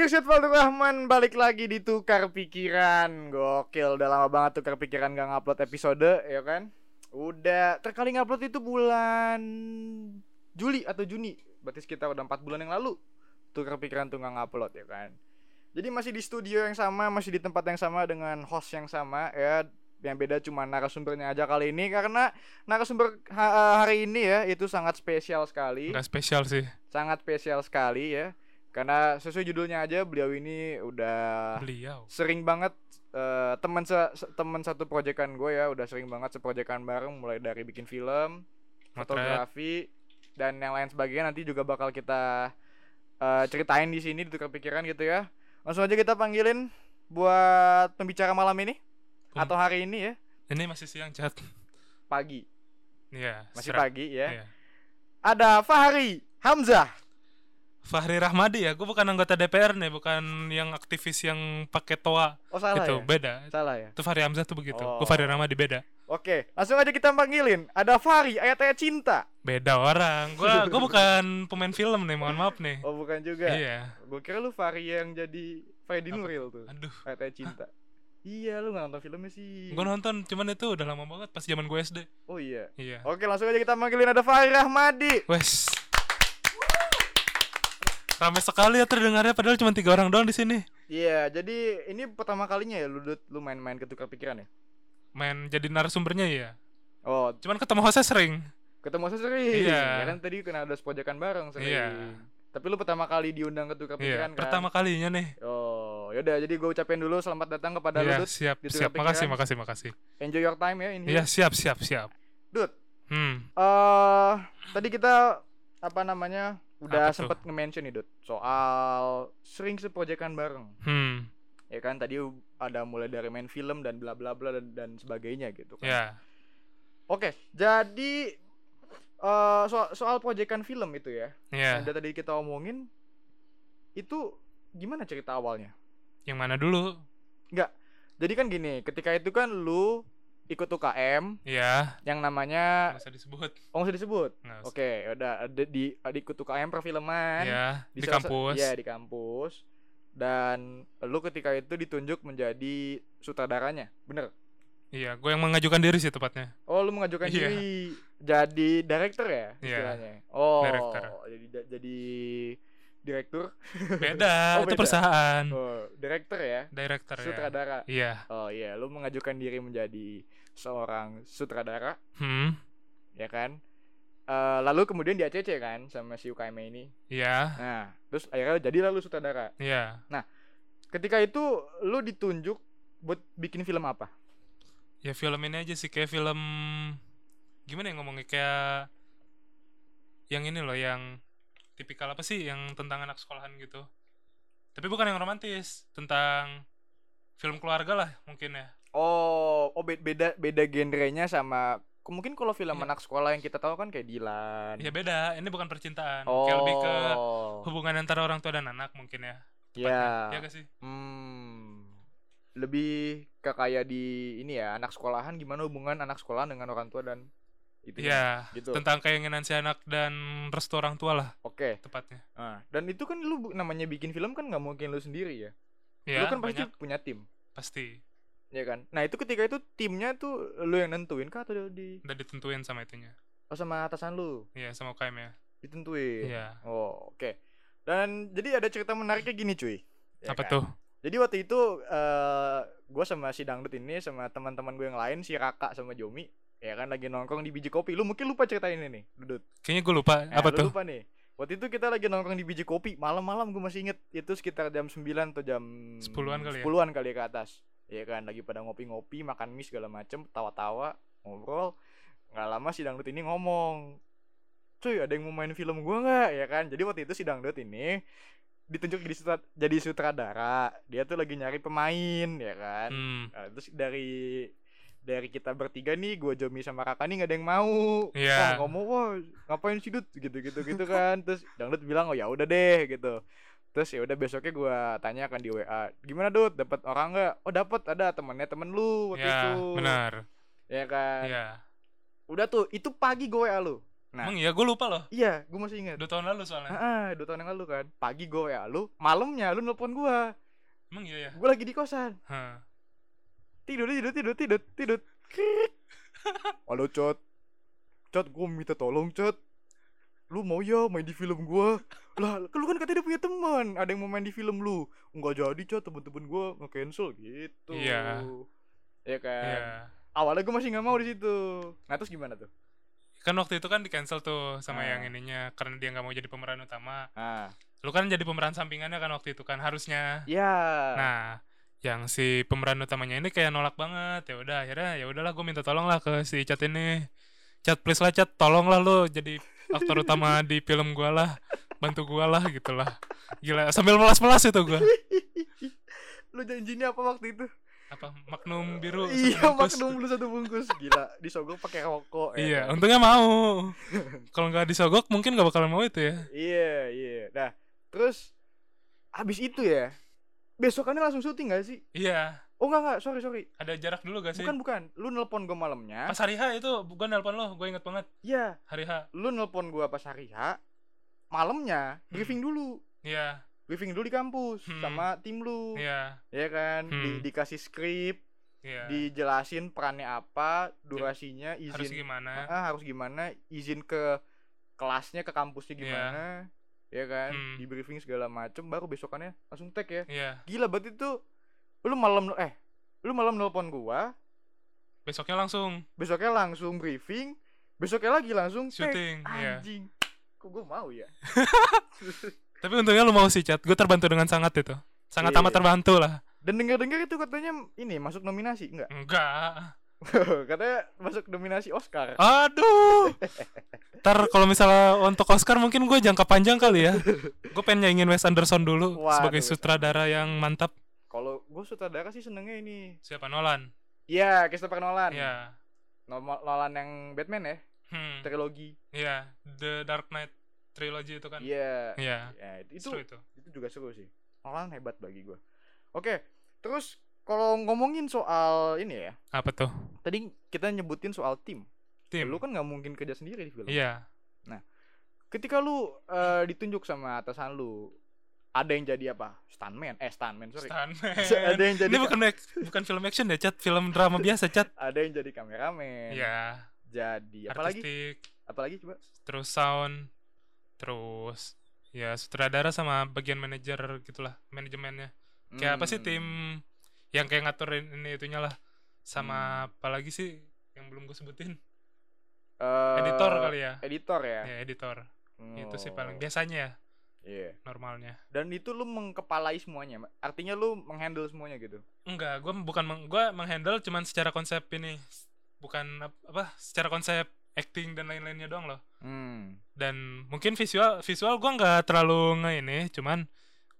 Irsyad Faldur Rahman balik lagi di Tukar Pikiran Gokil, udah lama banget Tukar Pikiran gak ngupload episode, ya kan? Udah, terkali ngupload itu bulan Juli atau Juni Berarti sekitar udah 4 bulan yang lalu Tukar Pikiran tuh gak ngupload, ya kan? Jadi masih di studio yang sama, masih di tempat yang sama dengan host yang sama ya yang beda cuma narasumbernya aja kali ini karena narasumber ha- hari ini ya itu sangat spesial sekali. Nggak spesial sih sangat spesial sekali ya karena sesuai judulnya aja beliau ini udah beliau. sering banget eh, teman se- se- teman satu proyekan gue ya udah sering banget seproyekan bareng mulai dari bikin film Motret. fotografi dan yang lain sebagainya nanti juga bakal kita eh, ceritain di sini di tukar pikiran gitu ya langsung aja kita panggilin buat pembicara malam ini Pem- atau hari ini ya Ini masih siang chat. pagi Iya. masih serap. pagi ya Iya. ada Fahri Hamzah Fahri Rahmadi ya, gue bukan anggota DPR nih, bukan yang aktivis yang pakai toa oh salah itu, ya beda. salah ya Itu Fahri Hamzah tuh begitu. Oh. Gue Fahri Rahmadi beda. Oke, langsung aja kita panggilin. Ada Fahri, ayat-ayat cinta. Beda orang. Gue gue bukan pemain film nih, mohon maaf nih. Oh, bukan juga. Iya. Gue kira lu Fahri yang jadi Freddy Apa? Nuril tuh. Aduh, Ayat-ayat cinta. Iya, lu nggak nonton filmnya sih. gue nonton cuman itu udah lama banget pas zaman gue SD. Oh iya. Iya. Oke, langsung aja kita panggilin ada Fahri Rahmadi. Wes. Rame sekali ya terdengarnya padahal cuma tiga orang doang di sini. Iya, jadi ini pertama kalinya ya lu Dut, lu main-main ketukar pikiran ya. Main jadi narasumbernya ya. Oh, Cuman ketemu hostnya sering. ketemu saya sering. Iya. Ya kan tadi kena ada spojakan bareng sering. Iya. Tapi lu pertama kali diundang ketukar Iya, pikiran kan? pertama kalinya nih. Oh, yaudah jadi gue ucapin dulu selamat datang kepada Iya, lu Dut. siap, Di siap. tengah Makasih, gitu kan pikiran. makasih, makasih. Enjoy your time ya ini. Iya, siap, siap, siap. Dut, Hmm. eh tadi kita apa namanya udah Apa tuh? sempet nge-mention nih Dut soal sering seprojekan bareng Hmm. ya kan tadi u- ada mulai dari main film dan bla bla bla dan, dan sebagainya gitu kan Ya. oke jadi eh so- soal proyekan film itu ya yang Ya, udah tadi kita omongin itu gimana cerita awalnya yang mana dulu? jadi kan gini ketika itu kan lu ikut UKM Ya, yang namanya nggak usah disebut. oh nggak usah disebut Nggak usah. oke ya udah ada di ada ikut UKM perfilman Ya, di, salah sa- kampus. Iya, di kampus. Dan lu ketika itu ditunjuk menjadi sutradaranya. Bener. Iya, gue yang mengajukan diri sih tepatnya. Oh, lu mengajukan Iya. diri jadi director ya Iya, istilahnya. Oh, director. jadi jadi direktur. Beda, Oh, itu beda. perusahaan. Oh, director ya. Director Hmm. ya. Sutradara. Iya. Oh iya, lu mengajukan diri menjadi seorang sutradara, Hmm. ya kan? Eh, lalu kemudian di ACC kan sama si UKM ini. Iya. Nah, terus akhirnya jadi lalu sutradara. Iya. Ketika itu lu ditunjuk buat bikin film apa? Ya film ini aja sih kayak film gimana ya ngomongnya kayak yang ini loh yang tipikal apa sih yang tentang anak sekolahan gitu. Tapi bukan yang romantis, tentang film keluarga lah mungkin ya. Oh, oh be- beda beda genrenya sama ke- mungkin kalau film Iya. anak sekolah yang kita tahu kan kayak Dilan. Ya beda, ini bukan percintaan, oh. kayak lebih ke hubungan antara orang tua dan anak mungkin ya. ya. Ya gak sih? Hmm. Lebih ke kayak di ini ya, anak sekolahan gimana hubungan anak sekolahan dengan orang tua dan itu Iya, gitu. tentang keinginan si anak dan restu orang tua lah Oke. tepatnya. Ah, Dan itu kan lu bu- namanya bikin film kan nggak mungkin lu sendiri ya. Ya, lu kan pasti banyak punya tim, pasti ya kan? Nah, itu ketika itu timnya tuh lu yang nentuin kah atau di udah ditentuin sama itunya. oh, sama atasan lu Iya, sama UKM ya. ditentuin? Iya. Oh, oke. Dan jadi ada cerita menariknya gini, cuy. Ya Apa kan? tuh? Jadi waktu itu eh gue sama si dangdut ini sama teman-teman gue yang lain si Raka sama Jomi ya kan lagi nongkrong di biji kopi. Lu mungkin lupa ceritain ini, Dudut. Kayaknya gue lupa. Nah, apa lu tuh? Lupa nih. Waktu itu kita lagi nongkrong di biji kopi malam-malam gue masih inget itu sekitar jam 9 atau jam 10-an kali ya? 10-an kali ya ke atas. Ya kan lagi pada ngopi-ngopi, makan mie segala macem, tawa-tawa, ngobrol. Nggak lama si dangdut ini ngomong, cuy ada yang mau main film gua nggak ya kan jadi waktu itu si dangdut ini ditunjuk jadi, sutra- jadi sutradara dia tuh lagi nyari pemain ya kan Hmm. Nah, terus dari dari kita bertiga nih gue Jomi sama kakak nih nggak ada yang mau Iya. Wah, nggak mau wah ngapain sih Dut gitu gitu gitu kan terus dangdut bilang oh ya udah deh gitu terus ya udah besoknya gue tanyakan di WA gimana Dut dapat orang nggak oh dapat ada temennya temen lu waktu ya, itu benar. ya kan Ya, udah tuh itu pagi gue WA lu Nah. Emang iya, gue lupa loh. Iya, gue masih ingat. Dua tahun lalu soalnya. Heeh, dua tahun yang lalu kan. Pagi gue ya lu, malamnya lu nelpon gua. Emang iya ya. Gua lagi di kosan. Hah. Tidur tidur tidur tidur tidur. Krik. Halo, Cot. Cot, gue minta tolong, Cot. Lu mau ya main di film gua? Lah, kan lu kan katanya dia punya teman. Ada yang mau main di film lu. Enggak jadi, Cot. Temen-temen gua nge-cancel gitu. Iya. Iya kan? Iya. Awalnya gue masih nggak mau di situ. Nah, terus gimana tuh? Kan waktu itu kan di cancel tuh sama Ah. yang ininya karena dia nggak mau jadi pemeran utama. Ah, Lu kan jadi pemeran sampingannya kan waktu itu kan harusnya. ya. Nah, yang si pemeran utamanya ini kayak nolak banget. Ya udah akhirnya ya udahlah gue minta tolong lah ke si Chat ini. Chat please lah Chat, tolonglah lu jadi aktor utama di film gua lah. Bantu gua lah gitu lah. Gila, sambil melas-melas itu gua. lu janjinya apa waktu itu? Apa Magnum biru. satu iya, bungkus. maknum lu satu bungkus. Gila, disogok pakai rokok. ya Iya, kan? untungnya mau. Kalau nggak disogok mungkin nggak bakalan mau itu ya. Iya, iya. Nah, terus abis itu ya, besokannya langsung syuting gak sih? Iya, Oh enggak enggak, sorry sorry. ada jarak dulu gak sih? Bukan bukan. Lu nelpon gue malamnya. Pas hari H itu gue nelpon lo, gue inget banget Iya, hari H. lu nelpon gue pas hari H. Malamnya briefing dulu. Iya, Briefing dulu di kampus Hmm. sama tim lu. iya, Ya kan? Di- Hmm. dikasih skrip, iya. dijelasin perannya apa, durasinya, Harus izin gimana? Ah, harus gimana, izin ke kelasnya, ke kampusnya Iya. gimana, ya kan? Hmm. Di briefing segala macem, baru besokannya langsung tag ya. Iya, Gila berarti itu lu malam eh lu malam nelpon gua, besoknya langsung besoknya langsung briefing, besoknya lagi langsung tag. syuting. Iya. Anjing. Kok gua mau ya? Tapi untungnya lo mau sih chat, gue terbantu dengan sangat itu. Sangat Iya. amat terbantu lah. Dan dengar-dengar itu katanya ini masuk nominasi enggak? Enggak. katanya masuk nominasi Oscar. Oh. Aduh. Ntar kalau misalnya untuk Oscar mungkin gue jangka panjang kali ya. Gue pengen nyaingin Wes Anderson dulu Waduh, sebagai Wes sutradara yang mantap. Kalau gua sutradara sih senengnya ini. Siapa Nolan? Iya, Christopher Nolan. Iya. Nol- Nolan yang Batman ya, Hmm. trilogi. Iya, The Dark Knight trilogy itu kan. Iya, Iya. Ya, itu seru itu. itu juga seru sih Nolan hebat bagi gua oke terus kalau ngomongin soal ini ya Apa tuh? tadi kita nyebutin soal tim, Tim. lu kan nggak mungkin kerja sendiri di film Iya. ketika lu eh, ditunjuk sama atasan lu ada yang jadi apa stuntman eh stuntman sorry Stuntman. ada yang jadi kan- Ini bukan mak- bukan film action ya, Chat. Film drama biasa, Chat. ada yang jadi kameramen Iya. jadi apalagi Artistik, apalagi coba terus sound, terus ya sutradara sama bagian manajer gitulah, manajemennya. Kayak apa sih Hmm, tim yang kayak ngaturin ini itunya lah. Hmm. Sama apalagi sih yang belum gue sebutin? eh, Oh. Editor kali ya. editor ya, Ya, editor. Itu sih paling biasa biasanya ya, normalnya. Iya. dan itu lu mengkepalai semuanya Ma- artinya lu menghandle semuanya gitu Enggak, gue bukan meng, gua menghandle cuman secara konsep ini, bukan ap- apa secara konsep acting dan lain-lainnya doang loh. hmm. Dan mungkin visual visual gue nggak terlalu nge ini, cuman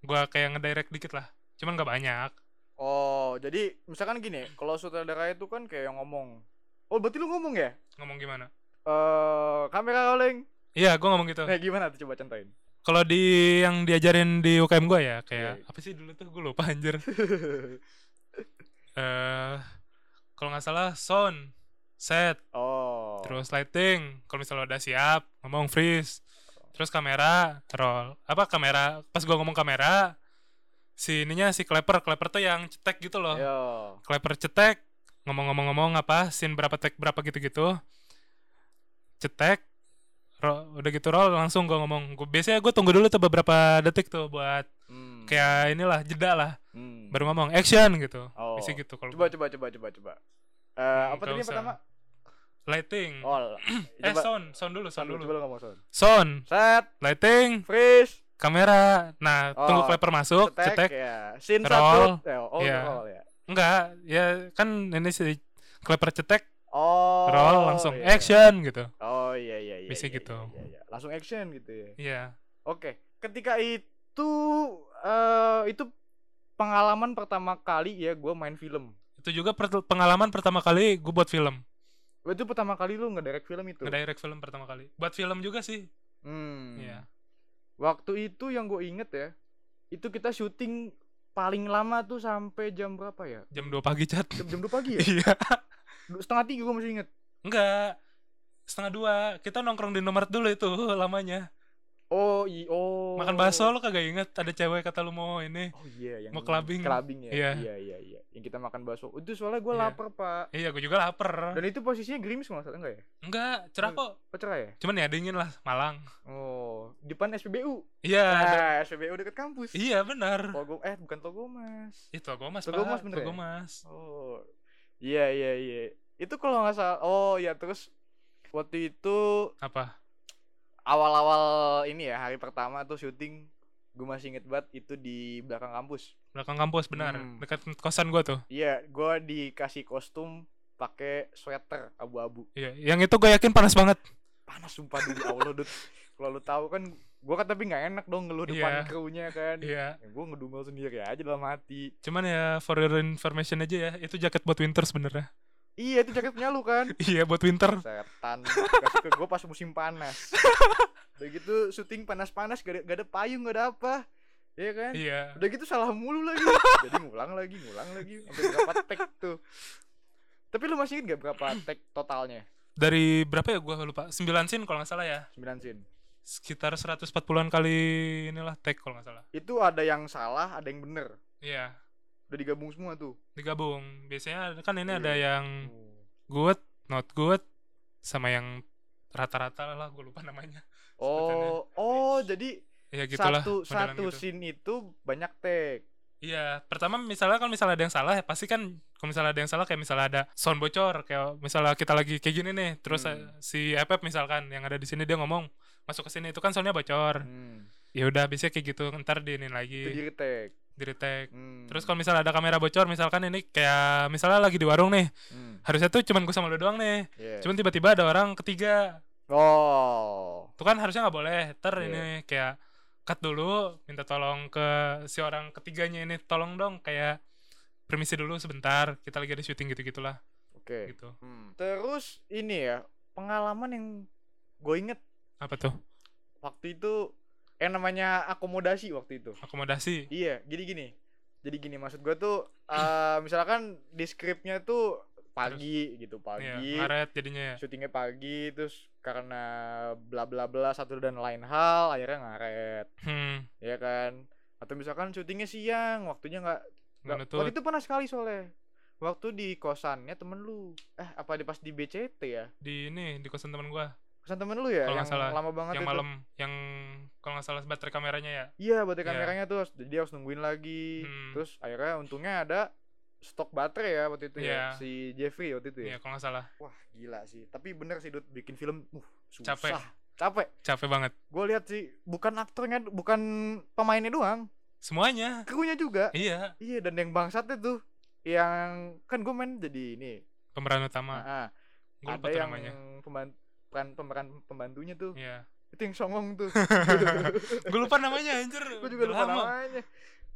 gua kayak ngedirect dikit lah, cuman nggak banyak. Oh, jadi misalkan gini, kalau sutradara itu kan kayak yang ngomong. Oh, berarti lu ngomong ya? Ngomong gimana? Eh, kamera rolling. Iya, gua ngomong gitu. Nah, gimana tuh coba contohin? Kalau di yang diajarin di UKM gua ya, kayak Iya. apa sih dulu tuh gue lupa anjir. Eh, kalau nggak salah sound, set, oh. terus lighting kalau misalnya udah siap ngomong freeze terus kamera roll apa kamera pas gua ngomong kamera si ininya si clapper clapper tuh yang cetek gitu loh Yo. clapper cetek ngomong-ngomong-ngomong apa scene berapa take berapa gitu-gitu cetek ro- udah gitu roll langsung gua ngomong gua biasanya gue tunggu dulu tuh beberapa detik tuh buat Hmm. kayak inilah jeda lah Hmm. baru ngomong action gitu Oh. Biasanya gitu kalau Coba coba coba coba coba. Eh, apa Hmm, nggak tadi yang usah. pertama? lighting Oh. eh coba, sound sound dulu sound sound dulu, dulu coba lu ngomong sound. sound Set, lighting freeze, kamera. Nah, Oh, tunggu clapper masuk, cetek, cetek. ya. Scene roll. satu. Eh, oh, Iya. roll ya. Enggak, ya kan ini si clapper cetek, Oh. roll langsung iya. action gitu. Oh, iya iya iya. Bisa iya, gitu. iya, iya. Langsung action gitu ya. Iya. Oke, ketika itu eh itu pengalaman pertama kali ya gue main film. Itu juga per- pengalaman pertama kali gue buat film. Itu pertama kali lu ngedirect film itu. Ngedirect film pertama kali. Buat film juga sih. Hmm. Iya. Waktu itu yang gue inget ya, itu kita syuting paling lama tuh sampai jam berapa ya? Jam 2 pagi, Chat. Jam, jam 2 pagi ya? Iya. Du- Setengah tiga gue masih inget. Enggak. setengah dua kita nongkrong di nomor dulu itu lamanya Oh, i oh. makan bakso lo kagak inget ada cewek kata lu mau ini Oh iya, yang Mau clubbing. Clubbing ya. Iya. Iya, iya, iya. Yang kita makan bakso. Itu soalnya gue Iya. lapar, Pak. iya gue juga lapar Dan itu posisinya gerimis kalau nggak salah enggak ya? enggak cerah kok Pecera ya? cuman ya dingin lah Malang Oh, depan SPBU. iya ada- Nah, SPBU dekat kampus. iya benar Togo eh bukan Togo Mas. itu gue mas Tuh, gua mas pak bener Tuh, gua ya? mas Oh. Iya, iya, iya. Itu kalau nggak salah. Oh, ya terus waktu itu apa awal-awal ini ya, hari pertama tuh syuting gue masih inget banget itu di belakang kampus. belakang kampus benar Hmm. dekat kosan gua tuh Iya, gue dikasih kostum pakai sweater abu-abu. iya yang itu gue yakin panas banget Hmm. Panas sumpah demi Allah, Dut. Kalau lu tahu kan gue kan tapi nggak enak dong ngeluh Iya. depan krunya kan. iya gue ngedumel sendiri aja dalam hati. cuman ya for your information aja ya itu jaket buat winter sebenarnya Iya, itu jaket punya lu kan. iya buat winter setan kasih ke gue pas musim panas udah gitu syuting panas-panas gak ada, gak ada payung gak ada apa ya kan iya udah gitu salah mulu lagi jadi ngulang lagi ngulang lagi sampai berapa tag tuh tapi lu masih inget gak berapa tag totalnya dari berapa ya gua lupa 9 scene kalau nggak salah ya 9 scene sekitar 140-an kali inilah tag kalau nggak salah itu ada yang salah ada yang bener iya udah digabung semua tuh digabung biasanya kan ini Iya. ada yang good not good sama yang rata-rata lah gue lupa namanya oh oh jadi ya gitulah satu modelan satu gitu. scene itu banyak tag Iya, pertama misalnya kalau misalnya ada yang salah ya pasti kan kalau misalnya ada yang salah kayak misalnya ada sound bocor kayak misalnya kita lagi kayak gini nih terus Hmm. eh, si Epep misalkan yang ada di sini dia ngomong masuk ke sini itu kan soundnya bocor. hmm. Ya udah biasanya kayak gitu ntar diinin itu lagi diri tag di retake. Hmm. Terus kalau misalnya ada kamera bocor misalkan ini kayak misalnya lagi di warung nih Hmm, iya. harusnya tuh cuman gue sama lu doang nih. yeah. Cuman tiba-tiba ada orang ketiga oh itu kan harusnya nggak boleh ter Iya. ini kayak cut dulu minta tolong ke si orang ketiganya ini tolong dong kayak permisi dulu sebentar kita lagi ada syuting gitu gitulah oke Hmm. gitu Terus ini ya pengalaman yang gue inget apa tuh waktu itu eh namanya akomodasi waktu itu. akomodasi Iya, jadi gini. Jadi gini maksud gue tuh eh, misalkan di skripnya tuh pagi gitu ya pagi, ngaret jadinya ya syutingnya pagi terus karena bla bla bla satu dan lain hal akhirnya ngaret hmm ya kan atau misalkan syutingnya siang waktunya nggak nggak nggak- nutut waktu itu pernah sekali soalnya waktu di kosannya temen lu eh apa di pas di BCT ya di ini di kosan teman gua pesan temen lu ya Kalau yang nggak salah, lama banget yang itu malam yang kalau nggak salah baterai kameranya ya iya baterai Iya. kameranya tuh harus- dia harus nungguin lagi Hmm. terus akhirnya untungnya ada stok baterai ya waktu itu Iya. ya si Jeffrey waktu itu iya ya kalau nggak salah wah gila sih tapi bener sih Dut bikin film uh susah Capek. capek capek banget gue lihat sih bukan aktornya bukan pemainnya doang semuanya krunya juga iya iya dan yang bangsatnya tuh yang kan gue main jadi ini pemeran ah, utama ah, gua ada lupa tuh yang namanya pembantu peran pemeran pembantunya tuh iya itu yang songong tuh gue lupa namanya anjir gue juga Udah lupa lama. namanya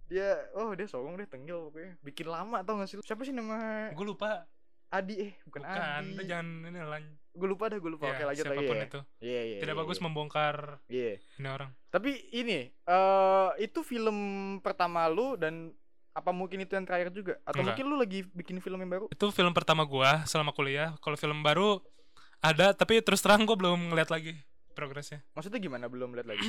dia oh dia songong dia tengil pokoknya bikin lama tau gak sih lu? siapa sih nama gue lupa Adi eh bukan, bukan lu Adi jangan ini lan gue lupa dah gue lupa oke Ya, lanjut lagi siapapun ya itu iya iya tidak iya, bagus iya. membongkar Iya. ini orang tapi ini eh itu film pertama lu dan apa mungkin itu yang terakhir juga atau Enggak. mungkin lu lagi bikin film yang baru itu film pertama gua selama kuliah kalau film baru ada tapi terus terang gua belum ngeliat lagi progresnya maksudnya gimana belum lihat lagi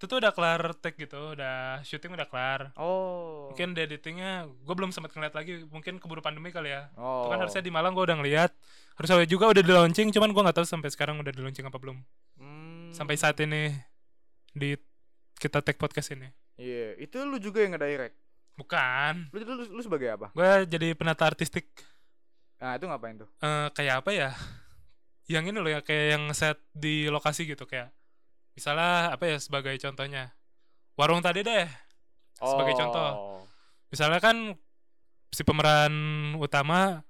itu tuh udah kelar take gitu udah syuting udah kelar oh mungkin di editingnya gua belum sempat ngeliat lagi mungkin keburu pandemi kali ya oh itu kan harusnya di Malang gua udah ngeliat harusnya juga udah di launching cuman gua nggak tahu sampai sekarang udah di launching apa belum Hmm. sampai saat ini di kita take podcast ini iya itu lu juga yang ngedirect bukan lu, lu lu sebagai apa gua jadi penata artistik nah itu ngapain tuh eh kayak apa ya yang ini loh ya kayak yang set di lokasi gitu kayak misalnya apa ya sebagai contohnya warung tadi deh Sebagai contoh. Oh. misalnya kan si pemeran utama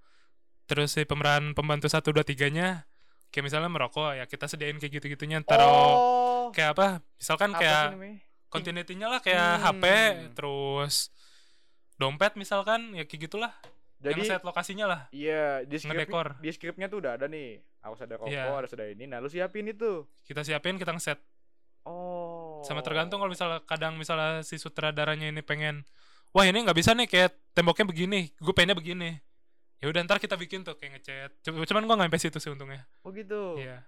terus si pemeran pembantu satu dua tiganya kayak misalnya merokok ya kita sediain kayak gitu gitunya taruh oh. kayak apa misalkan Apa sih kayak namanya? continuity-nya lah kayak Hmm. HP terus dompet misalkan ya kayak gitulah Jadi yang set lokasinya lah iya di script ngedekor. di scriptnya tuh udah ada nih. Harus ada rokok, Iya. harus ada ini. Nah, lu siapin itu. kita siapin kita ngeset Oh. sama tergantung kalau misalnya kadang misalnya si sutradaranya ini pengen wah ini nggak bisa nih kayak temboknya begini gue pengennya begini ya udah ntar kita bikin tuh kayak ngecat Cu- cuman gue nggak sampai situ sih untungnya Oh gitu. iya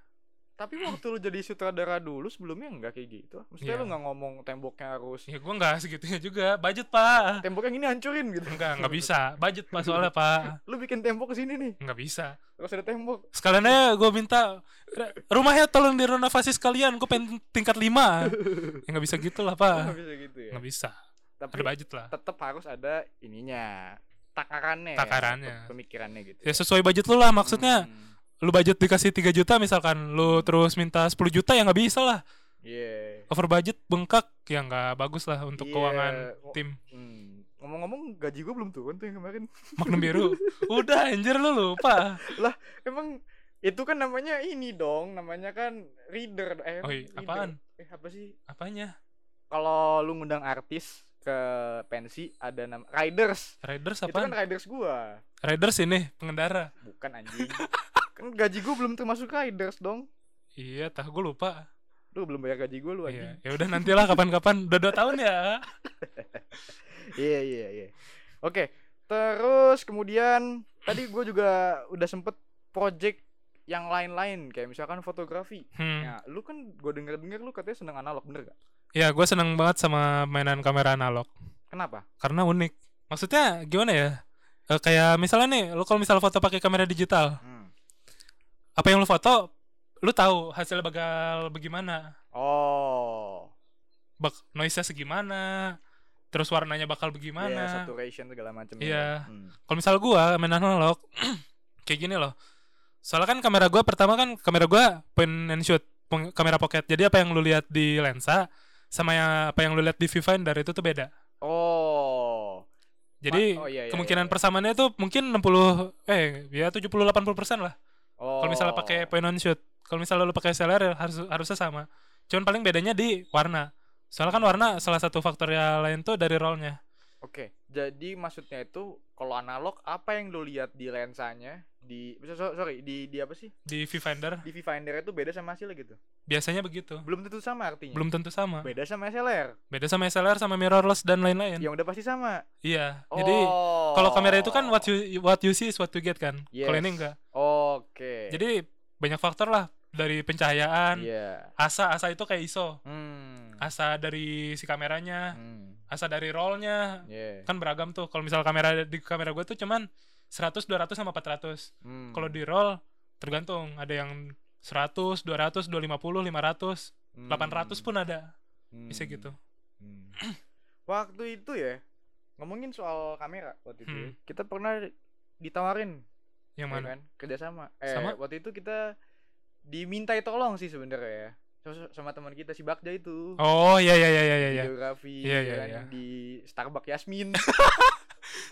Tapi waktu lu jadi sutradara dulu sebelumnya nggak kayak gitu. Maksudnya Iya. lu nggak ngomong temboknya harus ya gue nggak segitunya juga budget pak temboknya gini hancurin gitu. enggak nggak bisa budget pak soalnya pak Lu bikin tembok ke sini nih. nggak bisa Terus ada tembok. sekalian aja gue minta "Ra- rumahnya tolong direnovasi sekalian gue pengen tingkat 5 ya nggak bisa gitu lah Nggak pak bisa gitu ya. nggak bisa Tapi ada budget lah tetap harus ada ininya takarannya. ya, Takarannya. pe- Pemikirannya gitu. ya sesuai budget lu lah maksudnya Hmm. lu budget dikasih 3 juta misalkan lu terus minta 10 juta ya nggak bisa lah Iya. over budget bengkak ya nggak bagus lah untuk Iya. keuangan Ngo- tim hmm. Ngomong-ngomong gaji gue belum turun tuh yang kemarin. Magnum biru udah anjir lu lupa Emang itu kan namanya ini dong, namanya kan reader eh reader. Oi, Oh, iya. apaan? Eh apa sih? apanya Kalau lu ngundang artis ke pensi ada nama riders. riders Itu kan apa riders gua. riders ini pengendara Bukan anjing. kan gaji gua belum termasuk riders dong. iya tah gue lupa Lu belum bayar gaji gua lu anjing. iya ya udah nantilah kapan-kapan udah 2 tahun ya Iya iya iya. Oke, terus kemudian tadi gua juga udah sempet project yang lain-lain kayak misalkan fotografi. hmm. Nah, lu kan gue denger-denger lu katanya seneng analog bener gak? ya gue seneng banget sama mainan kamera analog Kenapa? karena unik maksudnya gimana ya Eh, kayak misalnya nih lu kalau misalnya foto pakai kamera digital apa yang lu foto lu tahu hasilnya bakal bagaimana Oh. bak noise-nya segimana, terus warnanya bakal Iya, begimana. saturation segala macam. Iya. Hmm. Kalau misal gua main analog kayak gini loh. Soalnya kan kamera gua pertama kan kamera gua point and shoot, peng- kamera pocket. Jadi apa yang lu lihat di lensa sama yang apa yang lu lihat di viewfinder itu tuh beda. Oh. Jadi Ma- oh, iya, iya, iya, kemungkinan iya. persamaannya tuh mungkin 60 eh ya 70 80% lah. Oh. Kalau misalnya pakai point and shoot. Kalau misalnya lu pakai SLR harus harusnya sama. Cuman paling bedanya di warna. Soalnya kan warna salah satu faktornya lain tuh dari rollnya. Oke, jadi maksudnya itu kalau analog apa yang lu lihat di lensanya di so- so- sorry di di apa sih di viewfinder di viewfinder itu beda sama hasilnya gitu biasanya begitu belum tentu sama artinya belum tentu sama Hmm. beda sama SLR beda sama SLR sama mirrorless dan lain-lain yang udah pasti sama iya jadi Oh. kalau kamera itu kan what you what you see is what you get kan kalau ini Yes. enggak oke jadi banyak faktor lah dari pencahayaan iya asa asa itu kayak ISO hmm asa dari si kameranya hmm Iya. asa dari rollnya yeah. kan beragam tuh kalau misal kamera di kamera gue tuh cuman 100 200 sama 400 Hmm. kalau di roll tergantung ada yang 100 200 250 500 Hmm. 800 pun ada bisa Hmm. gitu Hmm. waktu itu ya ngomongin soal kamera waktu itu ya, Hmm. kita pernah ditawarin ya yang mana kan, kerjasama eh Sama? waktu itu kita dimintai tolong sih sebenarnya ya sama, sama teman kita si Bagja itu Oh iya iya iya iya iya, iya. videografi ya Iya, iya, kan, iya. di Starbucks Yasmin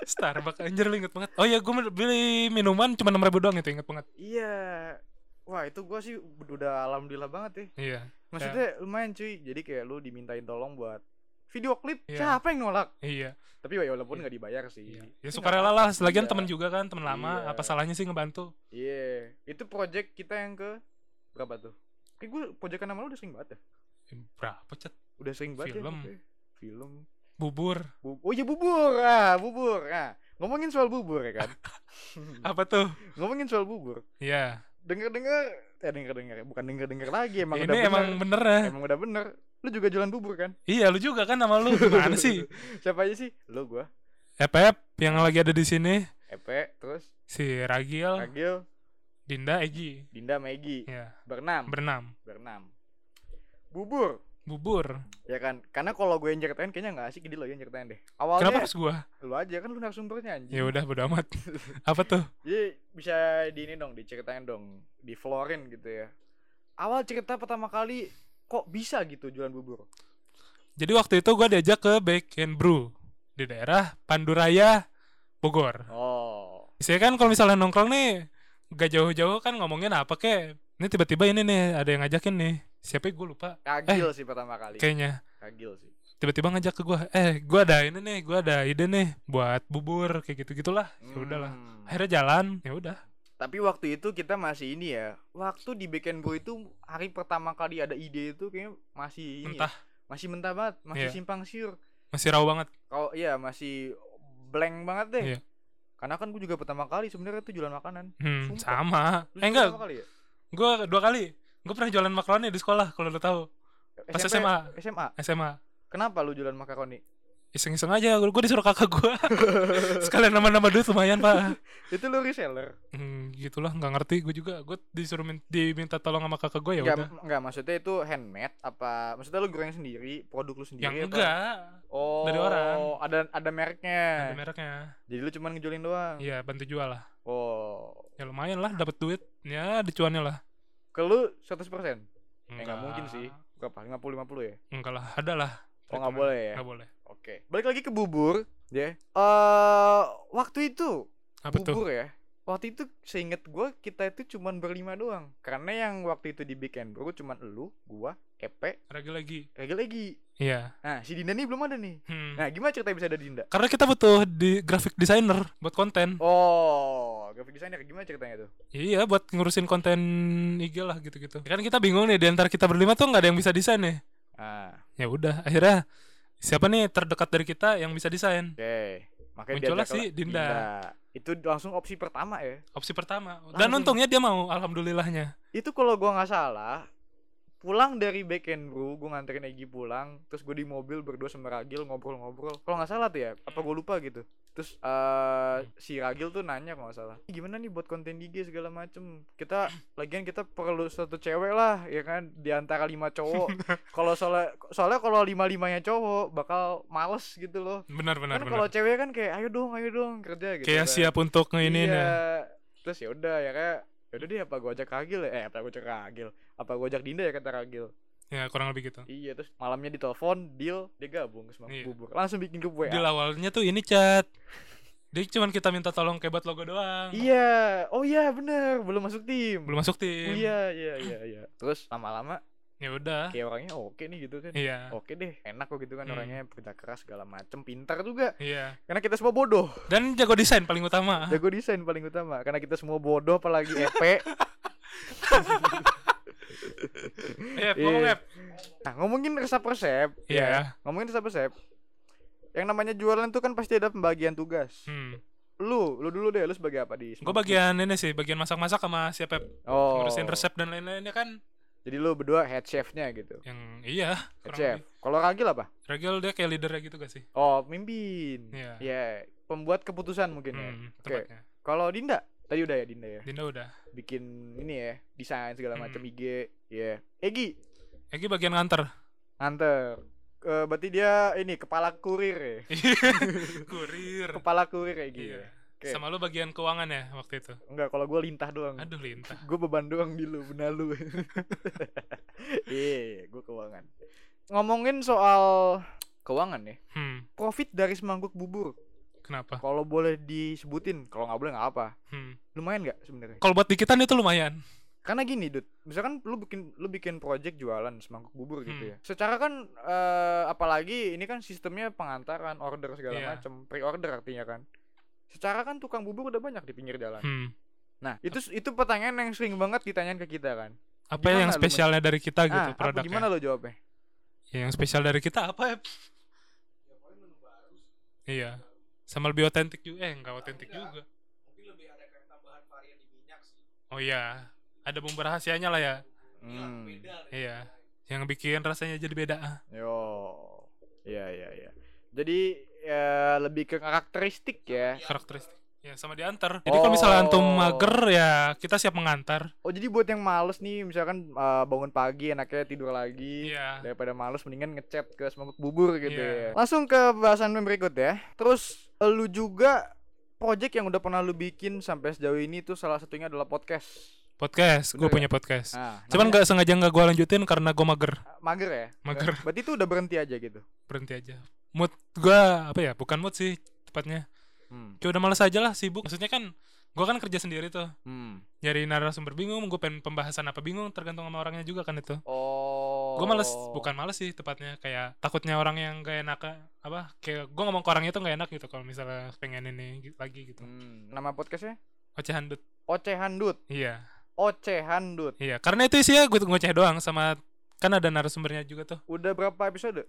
Starbucks anjir lu inget banget. Oh iya gue beli minuman cuma 6 ribu doang itu inget banget. iya wah itu gua sih udah alhamdulillah banget ya Iya. maksudnya lumayan cuy jadi kayak lu dimintain tolong buat video klip Iya. siapa yang nolak Iya. tapi ya walaupun nggak dibayar sih iya. Ya Tapi suka nggak rela lah, apa-apa. lagian Iya. temen juga kan, temen lama, Iya. apa salahnya sih ngebantu? Iya, itu project kita yang ke berapa tuh? Kayak gue project nama lu udah sering banget ya. Eh, Berapa cet? Udah sering banget Film. ya. pokoknya. Film. Bubur. Bu- oh iya bubur. Ah, bubur. Ah, ngomongin soal bubur ya kan. Hmm. Apa tuh? ngomongin soal bubur. Iya. Dengar-dengar, eh dengar-dengar, ya, bukan dengar-dengar lagi emang udah Ini emang bener. bener ya. Emang udah bener. Lu juga jualan bubur kan? Iya, lu juga kan nama lu gimana sih? Siapa aja sih? Lu gua, Epep yang lagi ada di sini Epe, terus si Ragil, Agil, Dinda, Egi. Dinda, Maggie, Iya, berenam, berenam. berenam. Bubur, Bubur. ya kan? Karena kalau gue yang ceritain kayaknya nggak asik, jadi lo yang ceritain deh. Awalnya Kenapa harus gua? lu aja kan lu narasumbernya anjing Ya udah bodo amat. Apa tuh? jadi bisa di ini dong diceritain dong di florin gitu ya awal cerita pertama kali kok bisa gitu jualan bubur Jadi waktu itu gue diajak ke Bake and Brew di daerah Panduraya, Bogor. oh Saya kan kalau misalnya nongkrong nih gak jauh-jauh kan ngomongin apa kek. Ini tiba-tiba ini nih ada yang ngajakin nih. Siapa gue lupa kagil Eh, sih pertama kali kayaknya. kagil sih Tiba-tiba ngajak ke gue, eh gue ada ini nih, gue ada ide nih buat bubur kayak gitu gitulah. Ya udahlah. Hmm. Akhirnya jalan, ya udah. tapi waktu itu kita masih ini ya waktu di Beken Bro itu hari pertama kali ada ide itu kayaknya masih ini ya, Mentah. masih mentah banget masih Iya. simpang siur Masih raw banget. kalau iya masih blank banget deh Iya. karena kan gue juga pertama kali sebenarnya tuh jualan makanan Hmm, Sumpah. sama. Lu Eh enggak, pertama kali ya? gue dua kali. Gue pernah jualan makaroni di sekolah kalau lo tahu. Pas SMA. SMA. SMA. Kenapa lu jualan makaroni? Iseng-iseng aja, gue disuruh kakak gue Sekalian nama-nama duit lumayan pak Itu lu reseller. hmm, Gitulah, nggak ngerti gue juga Gue disuruh min- diminta tolong sama kakak gue ya Enggak, udah enggak maksudnya itu handmade apa? Maksudnya lu goreng sendiri, produk lu sendiri ya, Yang apa? enggak, Oh, Dari orang. Ada ada mereknya. ada mereknya Jadi lu cuman ngejualin doang. Iya, bantu jual lah Oh. Ya lumayan lah, dapat duit Ya, dicuannya lah Ke lu 100%? Eh enggak mungkin sih. Berapa? 50 50 ya? Enggak lah, ada lah Oh enggak perhitungan. boleh ya. Nggak boleh Oke. Balik lagi ke bubur, ya. Eh waktu itu Apa tuh? bubur ya. Waktu itu seinget gue kita itu cuman berlima doang. Karena yang waktu itu di Big End Bro cuman elu, gua, Epe, Lagi-lagi lagi lagi. Iya Nah, si Dinda nih belum ada nih. Hmm. Nah, gimana cerita bisa ada Dinda? Karena kita butuh di graphic designer buat konten Oh, graphic designer gimana ceritanya tuh? Iya, buat ngurusin konten IG lah gitu-gitu. Kan kita bingung nih di antara kita berlima tuh nggak ada yang bisa desain nih. Ah, Ya udah, akhirnya siapa nih terdekat dari kita yang bisa desain? oke. Makanya Muncullah diajaklah si Dinda. Itu langsung opsi pertama ya. Opsi pertama. Dan Langsung. untungnya dia mau, alhamdulillahnya. Itu kalau gua nggak salah, pulang dari Beken Bro, gua nganterin Egi pulang, terus gue di mobil berdua sama Ragil ngobrol-ngobrol. Kalau nggak salah tuh ya, apa gue lupa gitu. Terus eh si Ragil tuh nanya kalau nggak salah, "Ih, gimana nih buat konten IG segala macem? Kita lagian kita perlu satu cewek lah, ya kan? Di antara lima cowok. Kalau soalnya soalnya kalau lima limanya cowok bakal males gitu loh. Benar benar kan kalau benar. cewek kan kayak ayo dong ayo dong kerja gitu Kayak kan. siap untuk ini iya. ya. terus ya udah ya kayak ya udah deh apa gua ajak Ragil ya eh apa gua ajak Ragil apa gua ajak Dinda ya kata Ragil Ya, kurang lebih gitu. iya terus malamnya ditelepon deal dia gabung ke Semangka Iya. bubur langsung bikin grup Di WA awalnya tuh ini chat. Dia cuman kita minta tolong kayak buat logo doang. iya oh iya bener belum masuk tim Belum masuk tim. iya iya iya iya terus lama-lama Ya udah. kayak orangnya oke nih gitu kan Iya. oke deh enak kok gitu kan Hmm. orangnya kerja keras segala macem pintar juga Iya. karena kita semua bodoh Dan jago desain paling utama. jago desain paling utama karena kita semua bodoh apalagi E EP Iya, ngomong Iya. Ep. Nah, ngomongin resep resep, ya. Iya. Ngomongin resep resep. Yang namanya jualan tuh kan pasti ada pembagian tugas. Hmm. Lu, lu dulu deh, lu sebagai apa di? Gue bagian ini sih, bagian masak-masak sama siapa oh. ngurusin resep dan lain-lainnya kan Jadi lu berdua head chefnya gitu. yang iya Head kurang chef. lebih. Kalau Ragil apa? Ragil dia kayak leadernya gitu gak sih? Oh, mimpin. Iya. Ya, pembuat keputusan mungkin ya. Hmm, Oke. tempatnya. Kalau Dinda, tadi udah ya Dinda ya. Dinda udah. Bikin ini ya, desain segala Hmm. macam IG, ya. Egi, Egi bagian nganter. anter. Eh, berarti dia ini kepala kurir ya. Kurir. Kepala kurir Egi. Iya. Oke. Hmm. Sama lu bagian keuangan ya waktu itu. Enggak, kalau gua lintah doang. Aduh lintah. gue beban doang di lu benar lu iya gue keuangan ngomongin soal keuangan ya Hmm. profit dari semangkuk bubur Kenapa? kalau boleh disebutin kalau nggak boleh nggak apa Hmm. lumayan nggak sebenarnya Kalau buat dikitan itu lumayan. karena gini dud misalkan lu bikin lu bikin project jualan semangkuk bubur gitu Hmm. ya secara kan eh, apalagi ini kan sistemnya pengantaran order segala Iya. macam pre order artinya kan secara kan tukang bubur udah banyak di pinggir jalan Hmm. nah itu itu pertanyaan yang sering banget ditanyain ke kita kan Apa Gimana yang lu, Mas? spesialnya dari kita ah gitu apa- produknya? gimana lo jawabnya Ya, yang spesial dari kita apa ya? Iya. Sama lebih otentik juga. Eh, enggak otentik Iya. juga. Oh iya, ada bumbu rahasianya lah ya. Hmm. Iya. Yang bikin rasanya jadi beda. ah. Yo. Iya iya iya. Jadi ya, lebih ke karakteristik ya. Karakteristik. Ya, sama diantar. Jadi kalau misalnya antum Oh. mager ya kita siap mengantar. Oh jadi buat yang males nih misalkan eh, bangun pagi enaknya tidur lagi Iya. daripada males mendingan ngechat ke semangkuk bubur gitu Iya. ya. Langsung ke bahasan berikut ya. Terus lu juga project yang udah pernah lu bikin sampai sejauh ini tuh salah satunya adalah podcast. Podcast, gue Bener punya podcast. Nah, Cuman namanya- nggak sengaja nggak gue lanjutin karena gue mager. mager ya? Mager. Berarti itu udah berhenti aja gitu. Berhenti aja. Mood gue apa ya? Bukan mood sih tepatnya. Hmm. Kayak udah males aja lah sibuk. Maksudnya kan gue kan kerja sendiri tuh. Hmm. Nyari narasumber bingung, gue pengen pembahasan apa bingung tergantung sama orangnya juga kan itu. Oh. Gue males, bukan males sih tepatnya kayak takutnya orang yang gak enak apa kayak gue ngomong ke orangnya tuh gak enak gitu kalau misalnya pengen ini gi- lagi gitu. Hmm. Nama podcastnya? Oceh handut. Oceh Handut. Iya. Oceh Handut. Iya, karena itu isinya gue ngoceh doang sama kan ada narasumbernya juga tuh. Udah berapa episode?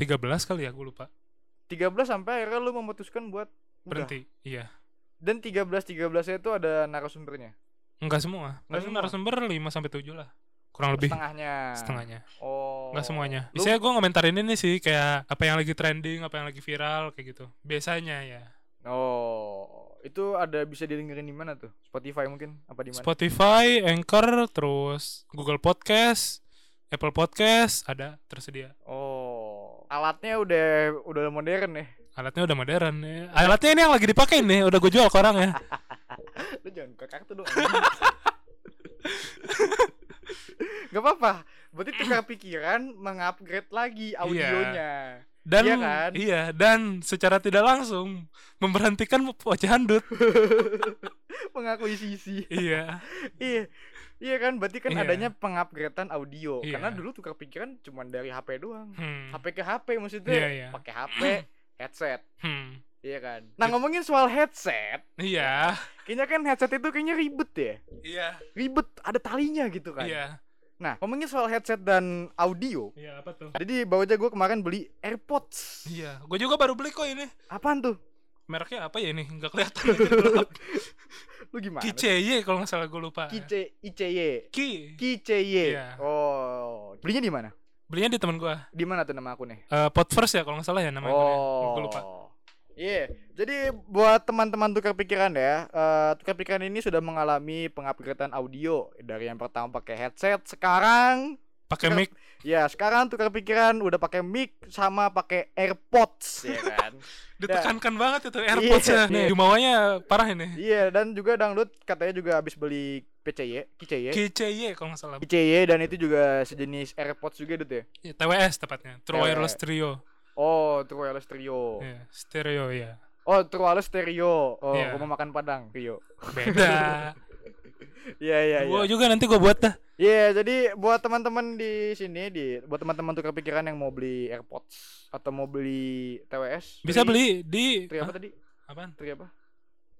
13 kali ya gue lupa. 13 sampai akhirnya lu memutuskan buat udah. Berhenti. Iya. Dan 13 13 itu ada narasumbernya. Enggak semua. Enggak Paling semua. narasumber 5 sampai 7 lah. kurang lebih setengahnya setengahnya oh nggak semuanya Lu- biasanya gue ngomentarin ini sih kayak apa yang lagi trending apa yang lagi viral kayak gitu biasanya ya oh itu ada bisa didengerin di mana tuh Spotify mungkin apa di mana Spotify Anchor terus Google Podcast Apple Podcast ada tersedia oh alatnya udah udah modern ya alatnya udah modern ya. alatnya ini yang lagi dipakai nih udah gue jual ke orang ya lu jangan buka kartu dong Gak apa-apa berarti tukar pikiran mengupgrade lagi audionya dan Iya kan? iya, dan secara tidak langsung memberhentikan wajah handut mengakui sisi iya iya iya kan berarti kan Iya. adanya pengupgradean audio Iya. karena dulu tukar pikiran cuma dari HP doang Hmm. HP ke HP maksudnya iya iya pakai HP headset Hmm. iya kan nah ngomongin soal headset iya kayaknya kan headset itu kayaknya ribet ya iya ribet ada talinya gitu kan iya nah ngomongin soal headset dan audio iya apa tuh jadi bawa aja gue kemarin beli AirPods iya gue juga baru beli kok ini apaan tuh mereknya apa ya ini nggak kelihatan aja di gelap. lu gimana Kiceye kalau nggak salah gue lupa Kice ICY Ki Kiceye Iya. oh belinya di mana belinya di teman gue di mana tuh nama akunnya Eh pot first ya kalau nggak salah ya nama Oh. akunnya. gue lupa Iya, jadi buat teman-teman tukar pikiran ya, eh, tukar pikiran ini sudah mengalami pengupgradean audio dari yang pertama pakai headset, sekarang pakai Tukar- mic ya sekarang tukar pikiran udah pakai mic sama pakai AirPods ya kan. ditekankan banget itu airpods ya Iya. nih jumawanya parah ini Iya, dan juga dangdut katanya juga habis beli PCY, KCY. Kiceye kalau nggak salah KCY dan itu juga sejenis AirPods juga Dut ya. Ya, TWS tepatnya True TWS. Wireless Trio Oh, True Wireless Trio. Iya, stereo ya Oh, True Wireless Stereo. Oh, Iya. rumah makan Padang, Trio. beda Iya, iya, iya. Gua juga nanti gue buat dah Iya, jadi buat teman-teman di sini di buat teman-teman tukar pikiran yang mau beli AirPods atau mau beli TWS. bisa Tri- beli di Tri apa tadi? Hah? oh apaan Tri apa?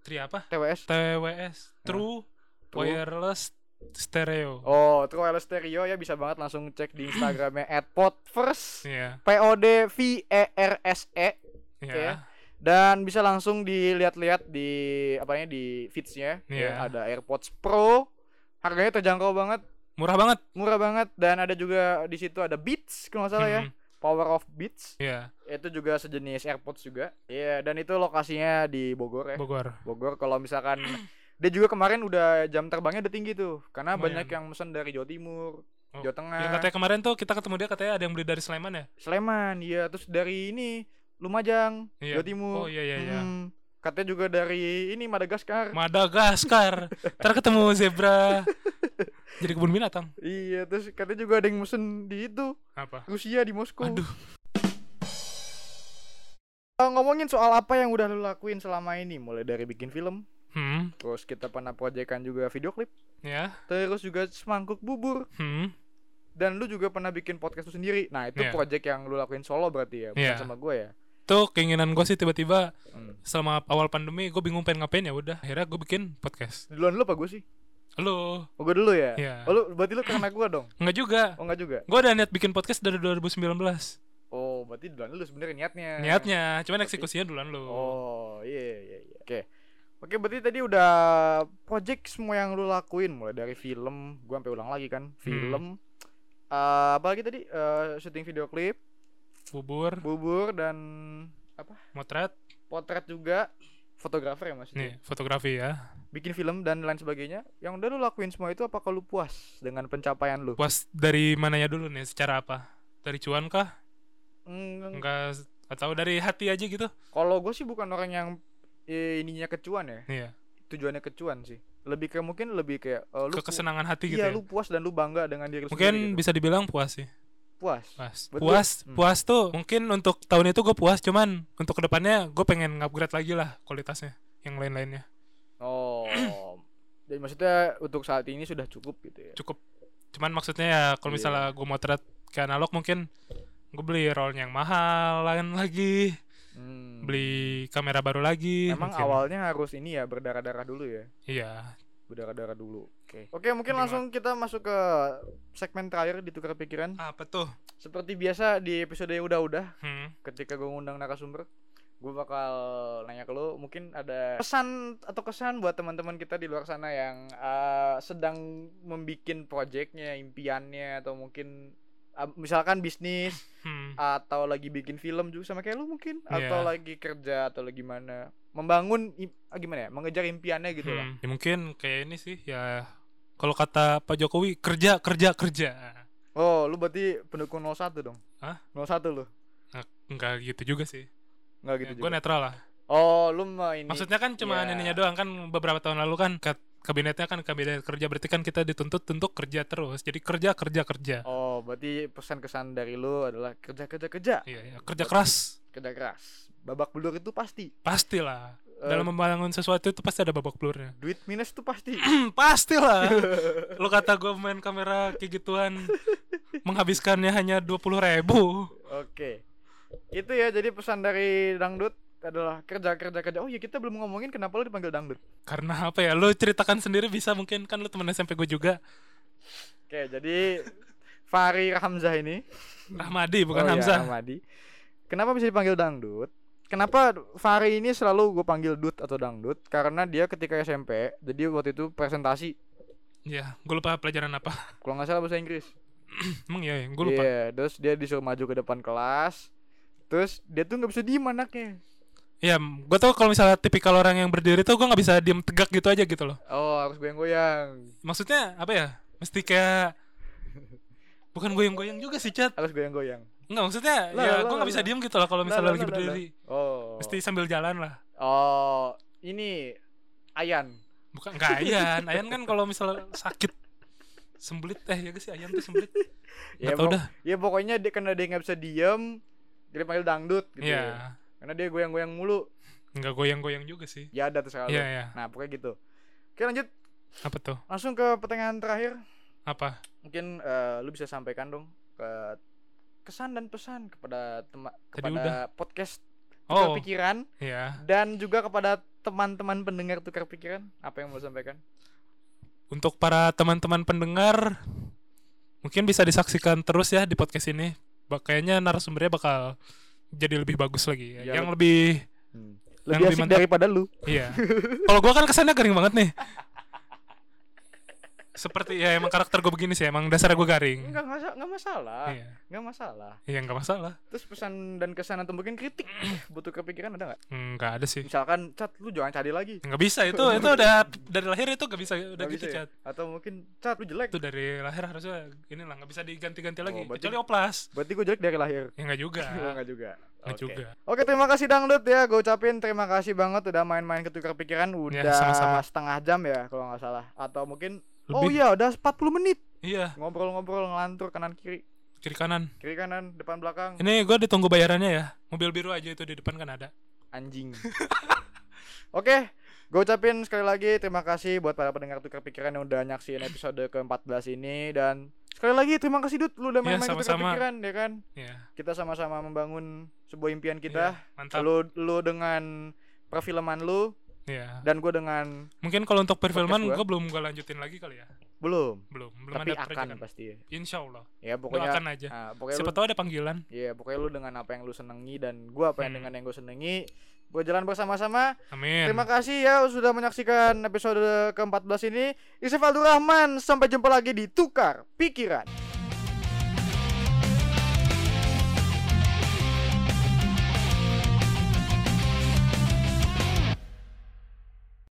tri apa TWS. TWS True True. iya. Wireless Stereo Oh, True Wireless Stereo ya bisa banget langsung cek di Instagramnya @podfirst. Iya, P O D V E R S E Oke. iya, dan bisa langsung dilihat-lihat di apanya di feedsnya ya Iya. ada AirPods Pro harganya terjangkau banget murah banget. murah banget dan ada juga di situ ada Beats kalau nggak salah ya Mhm, Power of Beats Iya, itu juga sejenis AirPods juga. Iya, dan itu lokasinya di Bogor ya. Bogor. Bogor kalau misalkan dia juga kemarin udah jam terbangnya udah tinggi tuh. Karena Lumayan. banyak yang pesan dari Jawa Timur, iya. Oh, Jawa Tengah, Yang katanya kemarin tuh kita ketemu dia katanya ada yang beli dari Sleman ya? Sleman, iya, terus dari ini Lumajang, Iya. Jawa Timur. Oh iya iya iya. Hmm, katanya juga dari ini Madagaskar. Madagaskar. Ntar ketemu zebra. Jadi kebun binatang. iya, terus katanya juga ada yang mesen di itu Apa? Rusia di Moskow. Aduh. Eh, ngomongin soal apa yang udah lu lakuin selama ini, mulai dari bikin film, Hmm. terus kita pernah proyekkan juga video klip. Ya. terus juga semangkuk bubur Hmm. dan lu juga pernah bikin podcast lu sendiri nah itu Iya. project yang lu lakuin solo berarti ya bukan Iya. sama gue ya Tuh keinginan gue sih tiba-tiba hmm. selama awal pandemi gue bingung pengen ngapain ya udah akhirnya gue bikin podcast. duluan lu apa gue sih Halo. oh, gue dulu ya Iya. oh, lu berarti lu karena gue dong Enggak juga. oh enggak juga Gue udah niat bikin podcast dari 2019. oh berarti duluan lu sebenarnya niatnya Niatnya, cuman eksekusinya duluan Eh. lo. oh iya iya iya oke oke berarti tadi udah project semua yang lu lakuin mulai dari film gue sampai ulang lagi Hmm. kan film Eh, apa lagi tadi Eh, syuting video klip Bubur, bubur dan motret, potret juga fotografer ya maksudnya nih fotografi ya. bikin film dan lain sebagainya yang udah lu lakuin semua itu apakah lu puas dengan pencapaian lu Puas dari mananya dulu nih? Secara apa? Dari cuan kah? Mm, Enggak atau dari hati aja gitu? kalau gue sih bukan orang yang eh, ininya kecuan ya Iya. tujuannya kecuan sih lebih ke mungkin lebih kayak eh, lu Ke kesenangan hati gitu. iya ya? lu puas dan lu bangga dengan diri lu sendiri Mungkin Ah. gitu. bisa dibilang puas sih. puas Puas. Betul. Puas, Hmm. puas tuh. Mungkin untuk tahun itu gue puas, cuman untuk kedepannya gue pengen upgrade lagi lah kualitasnya, yang lain-lainnya. oh jadi maksudnya untuk saat ini sudah cukup gitu ya Cukup. Cuman maksudnya ya kalau Iya. misalnya gue motret ke analog mungkin gue beli rollnya yang mahal lain lagi, Hmm. beli kamera baru lagi. emang mungkin. awalnya harus ini ya berdarah-darah dulu ya Iya. berdarah-darah dulu oke oke mungkin Gimana? langsung kita masuk ke segmen terakhir di tukar Ah. pikiran Apa tuh? seperti biasa di episode yang udah-udah Hmm. ketika gue ngundang narasumber gue bakal nanya ke lu mungkin ada pesan atau kesan buat teman-teman kita di luar sana yang eh, sedang membikin projectnya impiannya atau mungkin ah, misalkan bisnis Hmm. atau lagi bikin film juga sama kayak lu mungkin atau Iya. lagi kerja atau lagi mana membangun im- ah, gimana ya mengejar impiannya gitu lah Hmm, ya mungkin kayak ini sih ya kalau kata Pak Jokowi kerja kerja kerja. oh lu berarti pendukung 01 dong Hah? 01 lu Nah, enggak gitu juga sih. nggak gitu gue juga netral lah. oh lu mah ini Iya, Maksudnya kan cuma Iya. ininya doang kan beberapa tahun lalu kan kat- kabinetnya kan kabinet kerja berarti kan kita dituntut untuk kerja terus. Jadi kerja kerja kerja. oh berarti pesan kesan dari lu adalah kerja kerja kerja Iya, iya, kerja keras. kerja keras babak belur itu pasti Pastilah. Eh, Dalam membangun sesuatu itu pasti ada babak belurnya. duit minus itu pasti pastilah. Lu kata gue main kamera kayak gituan menghabiskannya hanya 20.000 ribu. Oke. Itu ya jadi pesan dari dangdut adalah kerja kerja kerja. Oh ya kita belum ngomongin kenapa lu dipanggil dangdut. Karena apa ya? Lu ceritakan sendiri bisa mungkin kan lu temen SMP gue juga. Oke, jadi Fahri Hamzah ini Rahmadi bukan Oh, iya, Hamzah. Ramadi. Kenapa bisa dipanggil dangdut? Kenapa Fahri ini selalu gue panggil Dut atau Dangdut? Karena dia ketika SMP, jadi waktu itu presentasi, Iya, gue lupa pelajaran apa. kalau nggak salah bahasa Inggris. Emang iya, ya? gue lupa. Iya, terus dia disuruh maju ke depan kelas. Terus dia tuh nggak bisa diem anaknya. Iya, gue tuh kalau misalnya tipikal orang yang berdiri tuh gue nggak bisa diem tegak gitu aja gitu loh. Oh, harus goyang-goyang. Maksudnya apa ya? Mesti kayak bukan goyang-goyang juga sih chat. Harus goyang-goyang. Enggak maksudnya Lah, ya lah, gue nggak lah, bisa lah. diem gitu loh kalau misalnya Lah, lah, lagi lah, lah, berdiri. Oh. Mesti sambil jalan lah. Oh, ini Ayan. Bukan enggak Ayan. Ayan kan kalau misalnya sakit sembelit eh ya nggak sih Ayan tuh sembelit. Ya, Enggak tau pok- dah. ya pokoknya dia karena dia nggak bisa diem, jadi panggil dangdut gitu. Iya. Karena dia goyang-goyang mulu. Enggak goyang-goyang juga sih. Ya ada terserah lu. Iya, iya. Nah, pokoknya gitu. Oke, lanjut Apa tuh? langsung ke pertanyaan terakhir. Apa? Mungkin eh, lu bisa sampaikan dong ke kesan dan pesan kepada tema- Tadi kepada udah. podcast Tukar Oh, Pikiran iya. dan juga kepada teman-teman pendengar Tukar Pikiran, apa yang mau lu sampaikan? untuk para teman-teman pendengar mungkin bisa disaksikan terus ya di podcast ini Ba- kayaknya narasumbernya bakal jadi lebih bagus lagi Iya, yang bet- lebih Yang Hmm. Lebih lebih asik mantap. daripada lu. iya kalau gua kan kesannya garing banget nih seperti ya emang karakter gue begini sih emang dasarnya gue garing Enggak masa- enggak masalah. iya Enggak masalah. iya nggak masalah Terus pesan dan kesan atau mungkin kritik butuh kepikiran ada nggak? nggak ada sih Misalkan cat lu jangan cari lagi nggak bisa itu itu udah dari lahir itu nggak bisa udah Nggak gitu bisa ya? Cat. atau mungkin cat lu jelek. itu dari lahir harusnya inilah nggak bisa diganti-ganti lagi Oh, berarti- kecuali oplas Berarti gue jelek dari lahir. ya nggak juga Enggak juga. nggak Oke. juga Oke terima kasih dangdut ya Gue ucapin terima kasih banget Udah main-main ketukar pikiran Udah Ya, sama-sama. setengah jam ya Kalau nggak salah Atau mungkin Oh Lebih. iya udah 40 menit iya Ngobrol-ngobrol ngelantur kanan kiri kiri kanan Kiri kanan depan belakang Ini gue ditunggu bayarannya ya. Mobil biru aja itu di depan kan ada. Anjing Oke Gue ucapin sekali lagi terima kasih buat para pendengar tukar pikiran yang udah nyaksiin episode ke-14 ini Dan sekali lagi terima kasih Dut Lu udah Iya, main-main tukar sama-sama. pikiran ya kan Iya. Kita sama-sama membangun sebuah impian Iya, kita mantap. Lu, lu dengan perfilman lu Iya. Dan gue dengan Mungkin kalau untuk perfilman Podcast gua. gue belum gue lanjutin lagi kali ya. belum Belum, belum tapi ada akan proyekan. pasti ya. Insya Allah. Ya pokoknya Doakan aja. ah, pokoknya Siapa lu, tahu ada panggilan. ya pokoknya lu dengan apa yang lu senengi dan gua apa yang Hmm. dengan yang gue senengi. Gua jalan bersama-sama. Amin. Terima kasih ya sudah menyaksikan episode ke-14 ini. Isef Abdul Rahman, sampai jumpa lagi di Tukar Pikiran.